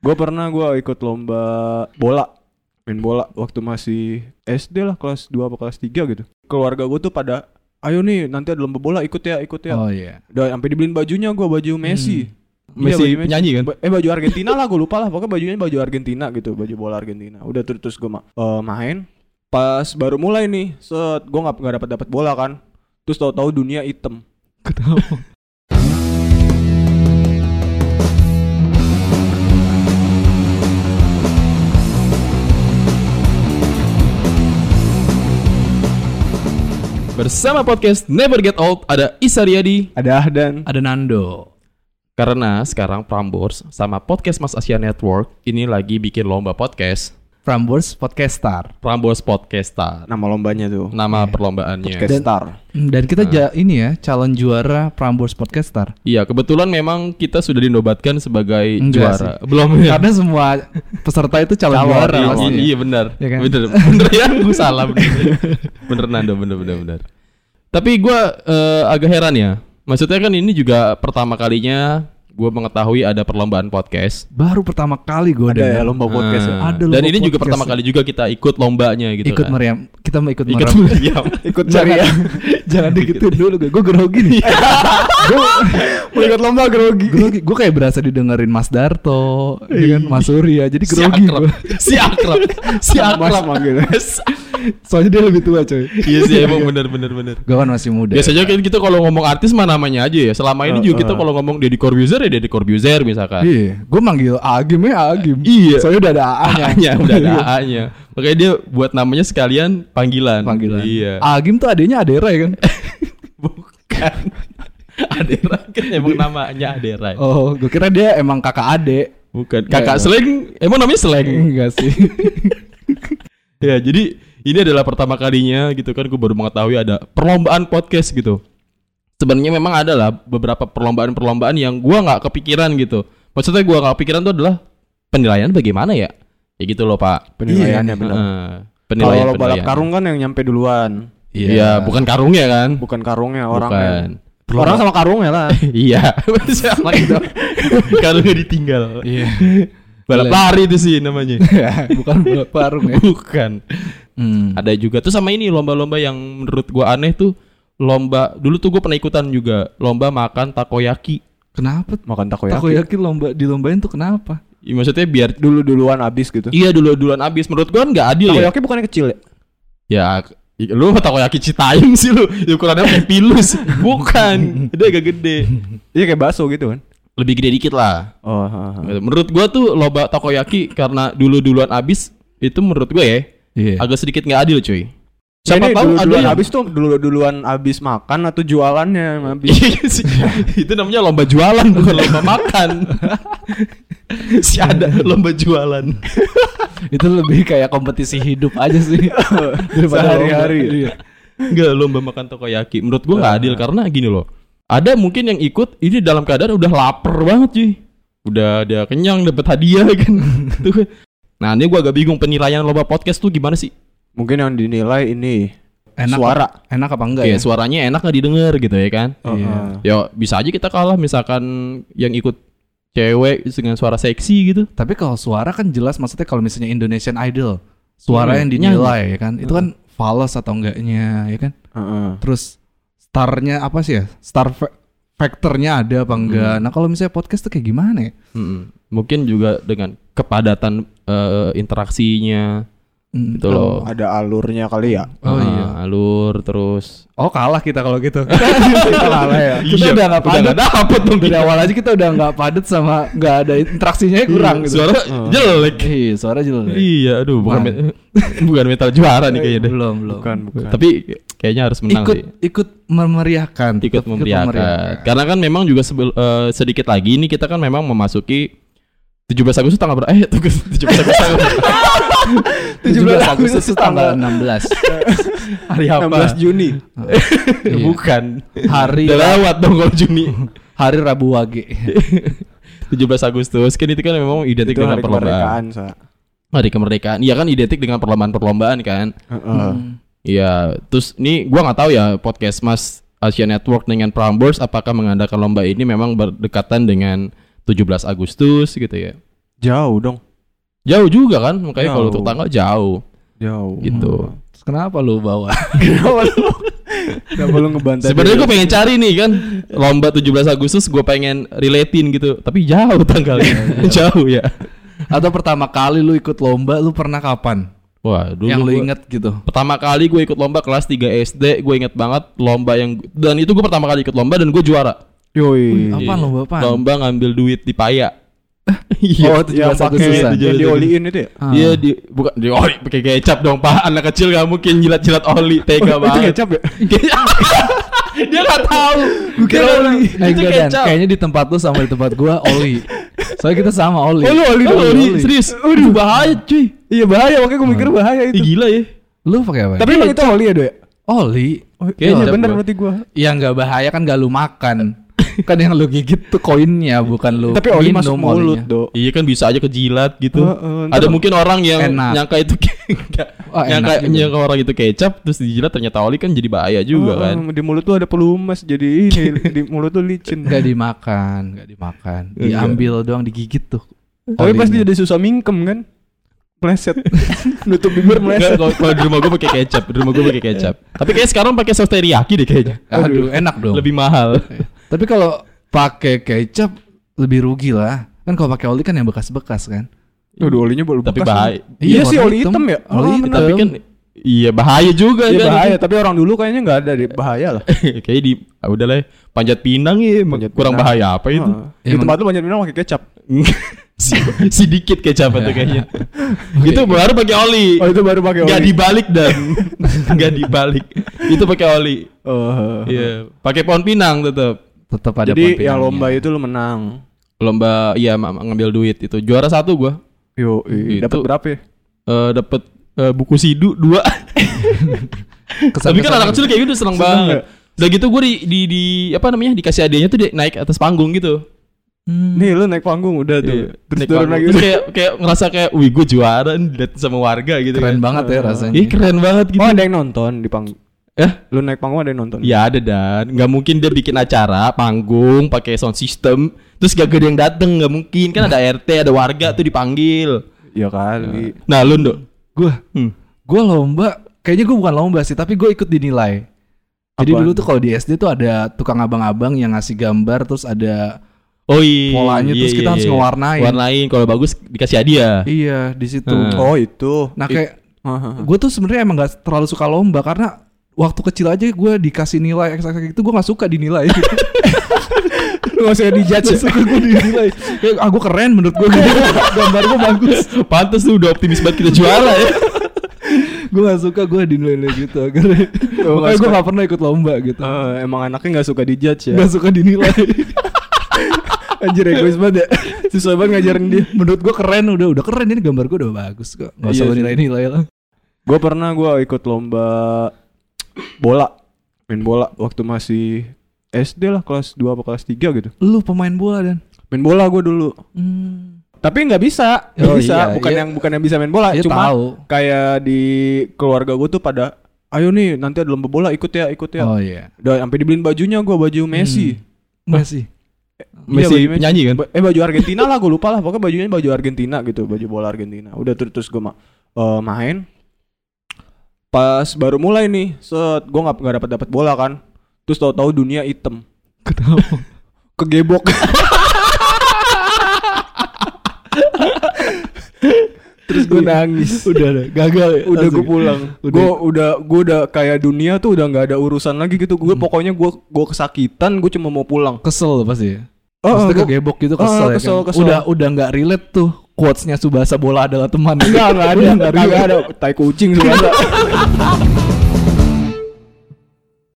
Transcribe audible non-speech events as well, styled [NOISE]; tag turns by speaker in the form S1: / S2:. S1: Gue pernah gue ikut lomba bola main bola waktu masih SD lah kelas 2 apa kelas 3 gitu. Keluarga gue tuh pada ayo nih nanti ada lomba bola ikut ya ikut ya.
S2: Oh iya.
S1: Udah sampai dibeliin bajunya gue baju Messi. Iya,
S2: Messi
S1: baju
S2: nyanyi
S3: [LAUGHS]
S2: kan?
S1: Ba- Eh baju Argentina lah gue lupa lah pokoknya bajunya baju Argentina gitu baju bola Argentina udah tuh terus gue main pas baru mulai nih set gue nggak nggak dapat dapat bola kan terus tahu-tahu dunia hitam
S2: Kenapa? Bersama podcast Never Get Old ada Isa Riyadi,
S1: ada dan
S3: Ada Nando.
S2: Karena sekarang Prambors sama podcast Mas Asia Network ini lagi bikin lomba podcast
S3: Prambors Podcaster.
S2: Prambors Podcastar.
S1: nama lombanya tuh
S3: Iya.
S2: Nama perlombaannya.
S1: podcast star
S3: Hmm, Dan kita ja- ini ya calon juara Prambors Podcaster.
S2: Iya, kebetulan memang kita sudah dinobatkan sebagai
S3: Enggak
S2: juara. Belum ya.
S3: Karena semua peserta itu calon,
S2: Calon,
S3: juara
S2: iya,
S3: pasti.
S2: Iya, benar.
S3: Iya kan?
S2: Bener, bener ya, gue salah bener. bener Nando, bener bener bener. Tapi gue eh, agak heran ya. Maksudnya kan ini juga pertama kalinya gue mengetahui ada perlombaan podcast.
S3: Baru pertama kali gue
S1: ada ya lomba podcast ya.
S2: Eh,
S3: Ada
S2: Dan
S3: lomba
S2: ini juga
S3: podcast. ya.
S2: pertama kali juga kita ikut lombanya gitu
S3: ikut
S2: kan.
S3: meriam. Kita mau ikut
S2: Ikut Iya.
S3: meriam. [LAUGHS]
S2: [LAUGHS] meriam.
S1: ikut cari ya
S3: Jangan digituin dulu gue. Gue grogi nih. [LAUGHS]
S1: Mau ikut lomba grogi
S3: gue kayak berasa didengerin Mas Darto, ya kan Mas Surya. Jadi
S2: Si
S3: grogi
S2: akrab,
S3: gue.
S2: [LAUGHS] si
S3: [LAUGHS]
S2: akrab, si
S1: mas
S2: akrab.
S1: manggil
S3: Soalnya dia lebih tua coy.
S2: Iya sih emang bener bener bener.
S3: Gue kan masih muda.
S2: Biasanya kan kita kalau ngomong artis mah namanya aja ya. Selama ini
S1: Eh,
S2: juga kita
S1: eh.
S2: kalau ngomong Deddy Corbuzier ya Deddy Corbuzier [LAUGHS] misalkan.
S3: Oh, Iya, gue manggil Agim ya Agim.
S2: Iya.
S3: Soalnya udah ada A-nya.
S2: A-nya udah
S3: Iya.
S2: ada A-nya. Makanya dia buat namanya sekalian panggilan.
S3: Panggilan. Ah,
S2: Iya.
S3: Agim tuh adanya Adera ya kan?
S2: [LAUGHS] Bukan. Adera kan emang namanya Adera.
S3: Oh, Iya. gue kira dia emang kakak adek.
S2: Bukan. Kakak Sleng emang namanya Sleng.
S3: Enggak sih. [LAUGHS]
S2: Ya, jadi ini adalah pertama kalinya gitu kan gue baru mengetahui ada perlombaan podcast gitu. Sebenarnya memang ada lah beberapa perlombaan-perlombaan yang gua nggak kepikiran gitu. Maksudnya gua nggak kepikiran tuh adalah penilaian bagaimana ya? Ya gitu loh, Pak.
S1: penilaiannya benar
S2: Heeh, penilaian.
S1: kalau balap
S2: penilaian.
S1: karung kan yang nyampe duluan
S2: Iya, bukan karungnya kan?
S1: bukan ya. karungnya
S2: Bukan.
S1: orangnya orang sama ya, karungnya lah
S2: [LAUGHS] iya, [LAUGHS] sama
S1: [LAUGHS]
S2: gitu. karungnya ditinggal.
S3: Iya.
S2: Balap
S1: Iya.
S2: lari itu sih namanya.
S1: [LAUGHS]
S3: Bukan balap parung ya.
S2: bukan.
S3: Hmm.
S2: ada juga tuh sama ini lomba-lomba yang menurut gua aneh tuh lomba dulu tuh gua pernah ikutan juga lomba makan takoyaki
S3: Kenapa?
S1: makan
S3: Aku
S1: takoyaki
S3: yakin lomba dilombain tuh kenapa?
S2: Ya, maksudnya biar
S1: dulu duluan abis gitu
S2: iya dulu duluan habis menurut gua kan nggak adil ya
S1: takoyaki bukannya kecil ya
S2: ya i- lu mah takoyaki citayam sih lu [LAUGHS] Ya, ukurannya kayak [LAUGHS] pilus [LAUGHS] bukan dia agak gede
S1: iya kayak bakso gitu kan
S2: lebih gede dikit lah
S1: oh ha, ha.
S2: menurut gua tuh lomba takoyaki karena dulu duluan habis itu menurut gua ya
S3: Iya.
S2: agak sedikit nggak adil cuy
S1: Siapa
S2: siapa tahu ada
S1: duluan
S2: yang
S1: habis tuh dulu duluan habis makan atau jualannya yang habis.
S2: Iya [LAUGHS] sih. itu namanya lomba jualan bukan lomba
S3: [LAUGHS]
S2: makan. si ada lomba jualan.
S3: Itu lebih kayak kompetisi hidup aja
S2: [LAUGHS]
S3: sih.
S1: Iya.
S3: Daripada
S1: Sehari-hari.
S3: lomba. Iya.
S2: Enggak lomba makan tokoyaki. Menurut gua nggak
S3: Ah.
S2: adil karena gini loh. Ada mungkin yang ikut ini dalam keadaan udah lapar banget cuy. Udah ada kenyang dapat hadiah [LAUGHS] kan. Tuh. Nah, ini gua agak bingung penilaian lomba podcast tuh gimana sih?
S1: [LAUGHS] Mungkin yang dinilai ini
S3: Enak
S1: suara.
S3: Enak apa enggak
S2: Kayak
S3: ya?
S2: suaranya enak nggak didengar gitu ya kan?
S3: Iya.
S1: Heeh.
S2: Ya bisa aja kita kalah misalkan yang ikut cewek dengan suara seksi gitu.
S3: Tapi kalau suara kan jelas maksudnya kalau misalnya Indonesian Idol, suara
S2: Iya,
S3: yang dinilai ya kan? Itu kan falas atau enggaknya ya kan?
S1: Heeh.
S3: terus starnya apa sih ya star fa- factornya ada apa enggak nah kalau misalnya podcast tuh kayak gimana ya
S2: Mm-mm. Mungkin juga dengan kepadatan eh, interaksinya
S3: Hmm.
S2: gitu loh.
S1: Ada alurnya kali ya.
S3: oh
S2: Ah,
S3: iya
S2: alur terus.
S3: oh kalah kita kalau gitu
S1: Kita kalah ya.
S3: kita
S2: Iya.
S3: udah nggak padat
S2: dapet dong
S3: dari awal aja kita udah nggak padat sama nggak ada interaksinya kurang gitu
S2: Suara jelek.
S3: Iya, suara jelek
S2: Iya, aduh
S3: Wah.
S2: bukan met- [LAUGHS] bukan metal juara nih kayaknya deh.
S3: belum belum
S1: Bukan, bukan.
S2: Tapi kayaknya harus menang
S3: ikut
S2: sih.
S3: ikut memeriahkan
S2: Ikut, memeriahkan. Karena kan memang juga sebel- eh, sedikit lagi ini kita kan memang memasuki 17 Agustus tanggal berapa? Eh, [LAUGHS] 17 Agustus tanggal berapa?
S3: 17
S1: 17
S3: Agustus
S1: Agustus
S3: tanggal [LAUGHS] 16
S2: Hari apa?
S1: 16 Juni.
S2: Ya,
S3: Iya.
S2: Bukan.
S3: Hari-
S2: Udah lewat dong kalau Juni.
S3: hari Rabu Wage
S2: 17 Agustus kan itu kan memang identik
S1: Itu
S2: dengan
S1: hari
S2: perlombaan.
S1: kemerdekaan, Sa.
S2: Hari kemerdekaan. Iya kan identik dengan perlombaan-perlombaan kan.
S1: Heeh.
S2: Iya, terus nih gua nggak tahu ya podcast Mas Asia Network dengan Prambors apakah mengadakan lomba ini memang berdekatan dengan 17 Agustus gitu ya.
S1: Jauh dong.
S2: Jauh juga kan, makanya kalau
S1: Jauh.
S2: untuk tanggal jauh
S1: Jauh.
S2: gitu.
S3: Terus kenapa lu bawa?
S1: [LAUGHS] Kenapa lu? Kenapa lu ngebantai?
S2: Sebenarnya
S3: ya.
S1: diri?
S2: gue pengen cari nih kan lomba 17 Agustus gue pengen relatein gitu, tapi jauh
S3: Iya,
S2: tanggalnya. [LAUGHS] jauh ya.
S3: Atau pertama kali lu ikut lomba lu pernah kapan?
S2: Wah, dulu
S3: yang lu
S2: gua-
S3: inget gitu.
S2: Pertama kali gue ikut lomba kelas 3 SD, gue inget banget lomba yang dan itu gue pertama kali ikut lomba dan gue juara.
S1: Yoi.
S3: Apaan lomba apaan?
S2: Lomba ngambil duit di paya.
S3: Oh,
S2: [LAUGHS] Iya.
S3: itu
S1: Oh, Yang pakai yang dioliin itu ya?
S3: Ah.
S2: Iya di bukan di oli pakai kecap dong pak anak kecil gak mungkin jilat-jilat oli
S1: [LAUGHS]
S2: tega
S1: itu
S2: banget. Iya.
S1: kecap ya?
S2: Dia gak tahu.
S3: Gue kira
S2: Dia
S3: oli.
S2: bilang,
S3: Eh,
S2: Itu
S3: enggak, Dan.
S2: kecap.
S3: Kayaknya di tempat lu sama di tempat gua oli. Soalnya kita sama oli.
S2: Oh, lu oli dong.
S1: Oh,
S2: Oli,
S1: oli.
S2: serius. Aduh bahaya cuy.
S1: Iya bahaya, makanya gue mikir bahaya
S2: Ih,
S1: itu.
S2: gila ya.
S3: Lu pakai apa?
S1: Tapi emang itu oli ya, Doi?
S3: oli.
S1: Kayaknya
S2: kecap
S1: bener
S2: gua.
S1: berarti gue.
S3: Yang nggak bahaya kan gak lu makan. kan yang lu gigit tuh koinnya bukan lu
S1: Tapi oli
S3: minum
S1: masuk
S3: olinya.
S1: mulut, Dok.
S2: Iya kan bisa aja kejilat gitu.
S1: Heeh, ntar-
S2: Ada mungkin orang yang
S3: Enak.
S2: nyangka itu [LAUGHS] enggak.
S3: Oh, enak
S2: nyangka,
S3: gitu.
S2: nyangka orang itu kecap terus dijilat ternyata oli kan jadi bahaya juga kan.
S1: Heeh, Di mulut tuh ada pelumas jadi ini
S2: [LAUGHS]
S1: di mulut tuh licin.
S3: Gak dimakan, gak dimakan. Diambil doang digigit tuh.
S1: Tapi
S3: olinya.
S1: pasti jadi susah mingkem kan? Pleset. [LAUGHS] Nutup bibir meleset.
S2: Enggak, kalau kalau di rumah gue pakai kecap, di rumah gue pakai kecap. Tapi kayak sekarang pakai saus teriyaki deh kayaknya.
S3: Ah, Aduh, enak dong.
S2: Lebih mahal.
S3: Tapi kalau pakai kecap lebih rugi lah. Kan kalau pakai oli kan yang bekas-bekas kan.
S1: Aduh, olinya baru
S2: Tapi
S1: bekas.
S2: bahaya.
S1: Iya
S3: warna
S1: sih, oli hitam ya?
S3: Oli
S1: Oh,
S3: hitam.
S2: Tapi kan iya bahaya juga
S1: Iya
S2: kan.
S1: bahaya, tapi orang dulu kayaknya nggak ada deh, bahaya lah.
S2: [LAUGHS] kayak di ah, udah lah ya. panjat pinang ya emang
S1: Panjat
S2: kurang
S1: pinang.
S2: bahaya apa itu. Iya,
S1: Heeh. Di
S3: Emang-
S1: tempat lu banyak bilang pakai kecap.
S2: [LAUGHS] si, si dikit kecap tuh kayaknya. [LAUGHS] itu baru pakai oli.
S1: Oh, itu baru pakai
S2: Gak
S1: oli.
S2: dibalik dan nggak dibalik. Itu pakai oli.
S1: Oh.
S2: Iya, pakai pohon pinang tetap.
S3: Tetap ada
S1: Jadi
S3: pelampingannya.
S1: yang lomba itu lu menang.
S2: Lomba iya ma- ma- ngambil duit itu. Juara satu gua.
S1: Yo,
S2: Gitu.
S1: dapat berapa ya?
S2: Eh dapat eh, buku sidu dua.
S3: Kesan-kesan
S2: [LAUGHS] Tapi kan anak kecil kayak gitu seneng
S1: Seneng
S2: banget. Udah gitu gue di, di, di- apa namanya dikasih hadiahnya tuh dia naik atas panggung gitu.
S3: Hmm.
S1: Nih lu naik panggung udah
S2: Iya,
S1: tuh. Terus
S2: naik
S1: turun
S2: panggung.
S1: lagi.
S2: Terus kayak kayak ngerasa kayak wih gue juara nih, dilihat sama warga gitu.
S3: keren
S2: kan.
S3: banget ya rasanya.
S2: Ih keren banget gitu.
S1: Oh, ada yang nonton di panggung.
S2: Eh?
S1: Lu naik panggung ada yang nonton.
S2: Ya ada dan nggak mungkin dia bikin acara panggung pakai sound system terus gak gede yang dateng nggak mungkin kan ada RT ada warga tuh dipanggil.
S1: Ya kali.
S2: Nah lu Ndok.
S3: Gue,
S2: Hmm.
S3: gue lomba. Kayaknya gue bukan lomba sih, tapi gue ikut dinilai. Jadi
S1: Apaan?
S3: dulu tuh kalau di SD tuh ada tukang abang-abang yang ngasih gambar, terus ada
S2: Oh iya.
S3: Polanya,
S2: iya,
S3: terus kita
S2: iya,
S3: harus
S2: iya.
S3: ngewarnain.
S2: Warnain kalau bagus dikasih hadiah. [LAUGHS]
S3: iya di situ.
S2: Hmm.
S1: Oh, itu.
S3: Nah kayak
S1: Hahaha.
S3: gue tuh sebenarnya emang gak terlalu suka lomba karena waktu kecil aja gue dikasih nilai XXX itu gue gak suka dinilai.
S1: [LAUGHS] Lu gak usah dijudge.
S3: Terus gue dinilai. Kayak, ya? ah gue keren menurut gue.
S1: [LAUGHS]
S3: Gambar gue bagus.
S2: Pantes tuh udah optimis banget kita juara ya.
S3: gue gak suka gue dinilai gitu akhirnya
S1: Oh,
S3: [LAUGHS] makanya
S1: gak
S3: gue
S1: suka.
S3: gak pernah ikut lomba gitu
S1: Eh, emang anaknya nggak suka dijudge ya.
S3: gak suka dinilai
S1: [LAUGHS] Anjir egois banget ya. Susah banget ngajarin dia.
S3: menurut gue keren udah udah keren ini gambar gue udah bagus kok gak usah
S1: Iya
S3: lo
S1: sih.
S3: nilai-nilai lah
S1: Gue pernah gue ikut lomba bola. Main bola waktu masih SD lah kelas 2 apa kelas 3 gitu.
S3: lu pemain bola dan Hmm.
S1: Main bola gue dulu. Tapi nggak bisa, nggak
S3: Oh,
S1: bisa.
S3: iya,
S1: bukan
S3: iya.
S1: yang bukan yang bisa main bola, Ah,
S3: Iya,
S1: cuma
S3: tahu.
S1: kayak di keluarga gue tuh pada ayo nih nanti ada lomba bola ikut ya, ikut ya.
S3: oh iya
S1: Udah sampai dibeliin bajunya gue baju Messi.
S3: masih
S1: Iya,
S2: Messi
S1: baju
S2: nyanyi kan.
S1: Ba- Eh baju Argentina lah gue lupa lah pokoknya bajunya baju Argentina gitu baju bola Argentina udah terus, terus gue ma- eh, main pas baru mulai nih set gue nggak nggak dapat dapat bola kan terus tahu-tahu dunia item [LAUGHS]
S3: kenapa
S1: kegebok terus gue nangis
S3: udah dah, gagal ya
S1: udah
S3: langsung.
S1: gue pulang
S3: Udah.
S1: gue udah gue udah kayak dunia tuh udah nggak ada urusan lagi gitu gue pokoknya gue gue kesakitan gue cuma mau pulang
S3: kesel pasti ya
S1: Oh,
S3: Maksudnya
S1: gua-
S3: kegebok gitu
S1: Oh,
S3: kesel, ya
S1: kesel,
S3: kan?
S1: kesel.
S3: udah udah nggak relate tuh quotesnya Subasa bola adalah teman [LAUGHS]
S1: Enggak, enggak ada,
S3: Udah
S1: enggak ada. Tai kucing sebenarnya.